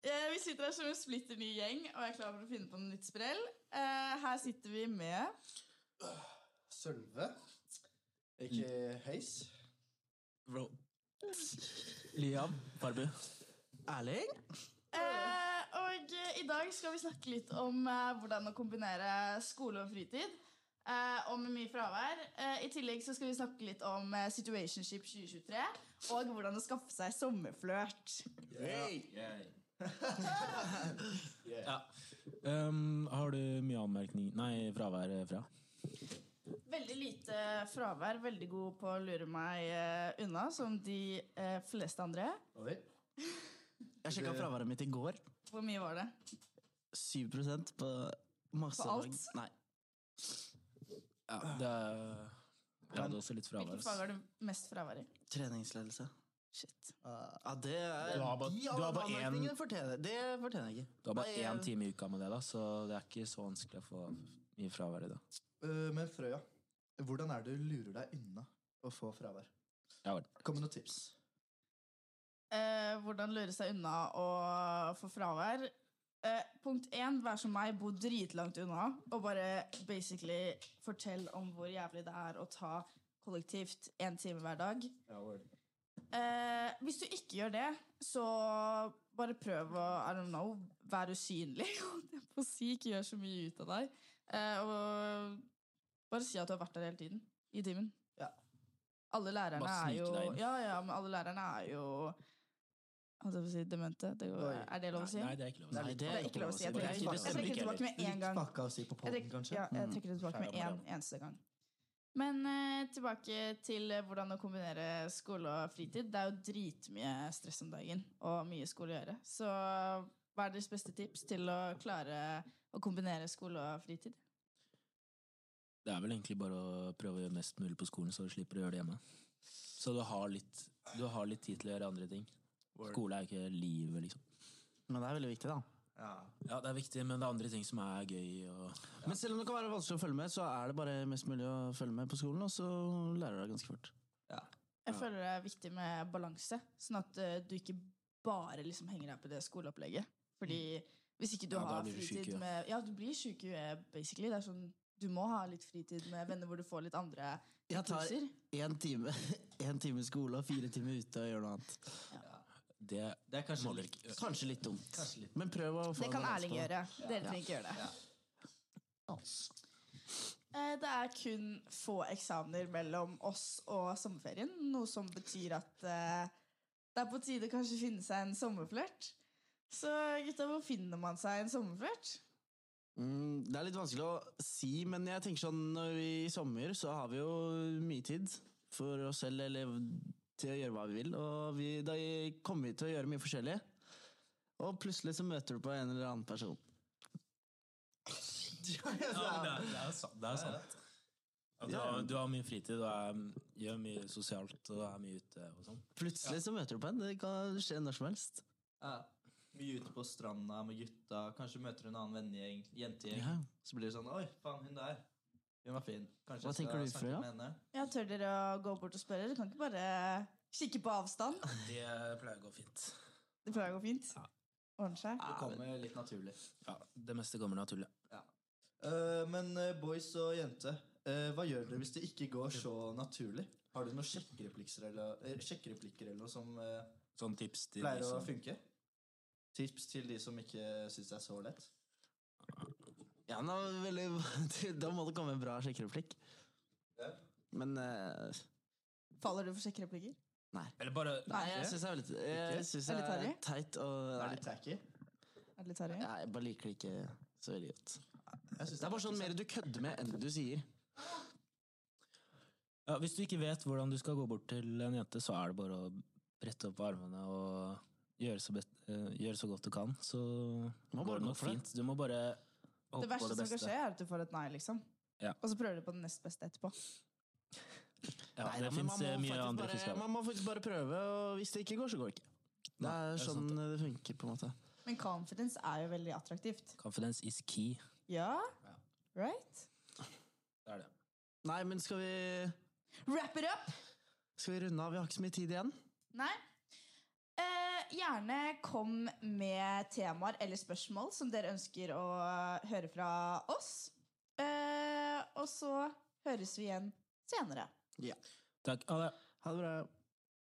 Eh, sitter her som en splitter ny gjeng, og er klar for å finne på noe nytt sprell. Eh, her sitter vi med Sølve. Ikke Heis. Bro. Liam. Barbu. Erling? eh, Og eh, i dag skal vi snakke litt om eh, hvordan å kombinere skole og fritid. Eh, og med mye fravær. Eh, I tillegg så skal vi snakke litt om eh, Situationship 2023. Og hvordan å skaffe seg sommerflørt. Um, har du mye anmerkning Nei, fravær eh, fra? Veldig lite fravær. Veldig god på å lure meg eh, unna, som de eh, fleste andre. Oi. Jeg sjekka fraværet mitt i går. Hvor mye var det? 7 på masse På alt? fag. Nei. Ja, det er Jeg hadde også litt fravær. Hvilke ass. fag har du mest fravær i? Treningsledelse. Shit. Ah. Ja, det er Du har bare- de du har bare én- anmerkningene fortjener Det fortjener jeg ikke. Du har bare Nei, én time i uka med det, da, så det er ikke så vanskelig å få mye fravær i det. Eh, Men Frøya, hvordan er det du lurer deg unna å få fravær? Ja vel. Kom med noen tips. Eh, hvordan lure seg unna og få fravær? Eh, punkt én, vær som meg, bo dritlangt unna og bare basically fortell om hvor jævlig det er å ta kollektivt én time hver dag. Eh, hvis du ikke gjør det, så bare prøv å I don't know, være usynlig. holdt jeg på å si ikke gjør så mye ut av deg. Eh, og bare si at du har vært der hele tiden. I timen. Ja. Alle lærerne Bare er snike jo deg inn. Ja, ja, men alle lærerne er jo Holdt jeg på å si demente? Det går, Oi. er det lov å si? Nei, det er ikke lov å si. Nei, det det er ikke lov å si. Jeg Det er trekker, ikke- jeg trekker det tilbake med en Litt gang. pakka å si på Jeg poden, trekker- kanskje? Ja, Mm. Mm. jeg trekker det tilbake med Skjærer en opp eneste gang. Men eh, tilbake til eh, hvordan å kombinere skole og fritid. Det er jo dritmye stress om dagen og mye skole å gjøre. Så hva er deres beste tips til å klare å kombinere skole og fritid? Det er vel egentlig bare å prøve å gjøre mest mulig på skolen, så du slipper å gjøre det hjemme. Så du har litt, du har litt tid til å gjøre andre ting. Skole er jo ikke livet, liksom. Men det er veldig viktig, da. Ja. Ja, det er viktig, men det er andre ting som er gøy. Og... Men selv om det kan være vanskelig å følge med, så er det bare mest mulig å følge med på skolen, og så lærer du deg ganske fort. Jeg føler det er viktig med balanse, sånn at eh, du ikke bare liksom henger deg på det skoleopplegget. Fordi hvis ikke du Mm. Ja, da har blir du fritid syk i huet. med Ja, du blir sjuk i huet, basically. Det er sånn, du må ha litt fritid med venner hvor du får litt andre Jeg tar impulser. én time, en time skole og fire timer ute og gjør noe annet. Det, Det er kanskje, Må dere litt, ikke- kanskje litt dumt. Men prøv å få Sånn Det kan balanse Erling på det. gjøre. Dere trenger ikke gjøre det. Eh, Det er kun få eksamener mellom oss og sommerferien, noe som betyr at eh, det er på tide å kanskje finne seg en sommerflørt. Så gutta, hvor finner man seg en sommerflørt? Mm, det er litt vanskelig å si, men jeg tenker sånn når vi, i sommer så har vi jo mye tid for oss selv eller til å gjøre hva vi vil, og vi, da kommer vi til å gjøre mye forskjellig. Og plutselig så møter du på en eller annen person. det er sant. Det er sant. Ja, du, har, du har mye fritid, du er, gjør mye sosialt og du er mye ute og sånn. Plutselig så møter du på en. Det kan skje når som helst. Ja. Mye ute på stranda med gutta. Kanskje møter du en annen vennegjeng. Jentegjeng. Ja. Så blir det sånn Oi, faen, hun der. Hun var fin. Kanskje Hva jeg tenker skal du, snakke Frøya? med henne. Ja, Tør dere å gå bort og spørre? Dere kan ikke bare kikke på avstand? Det pleier å gå fint. Det pleier å gå fint. Ordner seg. Det kommer litt naturlig. Ja, det meste kommer naturlig. Eh, men eh, boys og jente, eh, hva gjør dere hvis det ikke går så naturlig? Har du noen sjekkereplikker eller, eh, sjekkereplikker eller noe som eh, Sånn tips til pleier de å som- funke? Tips til de som ikke syns det er så lett? Ja, men da, er det veldig, da må det komme en bra sjekkereplikk. Ja. Men eh, Faller du for sjekkereplikker? Eller bare Nei, jeg syns det er veldig jeg Ikke? synes Er det det er litt teit. Og, Det er nei, litt tacky. Er det litt harry? nei, jeg bare liker det ikke så veldig godt. Jeg synes Det er bare sånn mer du kødder med enn du sier. ja, Hvis du ikke vet hvordan du skal gå bort til en jente, så er det bare å brette opp armene og gjøre så, best, eh, gjøre så godt du kan. Så må bare går det gå nok for det. fint. Du må bare Det håpe på verste det som kan beste. skje, er at du får et nei, liksom. Ja. Og så prøver du på den nest beste etterpå. Ja, Nei, det da, men man fins må mye faktisk andre bare, fisker. Man må faktisk bare prøve, og hvis det ikke går, så går det ikke. Det Nei, er det er sånn sant, det funker, på en måte. Men confidence er jo veldig attraktivt. Confidence is key. Ja? Right? Det er det. Nei, men skal vi, Wrap it up! skal vi runde av? Vi har ikke så mye tid igjen. Nei. Eh, gjerne kom med temaer eller spørsmål som dere ønsker å høre fra oss. Eh, og så høres vi igjen senere. Takk. Ha det. Ha det bra.